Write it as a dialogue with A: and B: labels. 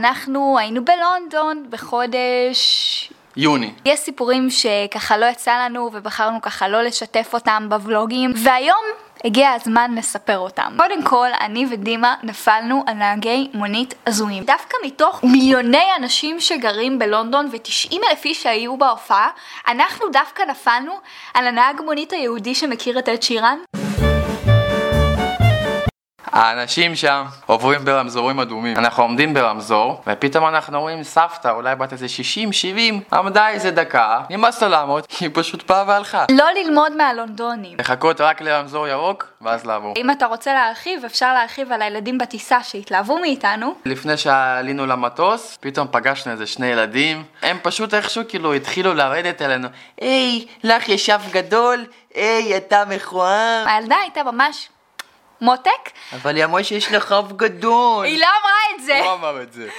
A: אנחנו היינו בלונדון בחודש...
B: יוני.
A: יש סיפורים שככה לא יצא לנו ובחרנו ככה לא לשתף אותם בוולוגים, והיום הגיע הזמן לספר אותם. קודם כל, אני ודימה נפלנו על נהגי מונית הזויים. דווקא מתוך מיליוני אנשים שגרים בלונדון ו-90 אלף איש שהיו בהופעה, אנחנו דווקא נפלנו על הנהג מונית היהודי שמכיר את עד שירן.
B: האנשים שם עוברים ברמזורים אדומים. אנחנו עומדים ברמזור, ופתאום אנחנו רואים סבתא, אולי בת איזה 60-70, עמדה איזה דקה, נמאס לה לעמוד, היא פשוט באה והלכה.
A: לא ללמוד מהלונדונים.
B: לחכות רק לרמזור ירוק, ואז לעבור.
A: אם אתה רוצה להרחיב, אפשר להרחיב על הילדים בטיסה שהתלהבו מאיתנו.
B: לפני שעלינו למטוס, פתאום פגשנו איזה שני ילדים, הם פשוט איכשהו כאילו התחילו לרדת אלינו, היי, לך יש אף גדול, היי, אתה מכוער.
A: הילדה הייתה ממש מותק,
B: אבל היא אמרה שיש לך אף גדול.
A: היא לא אמרה את זה.
B: הוא אמר את זה.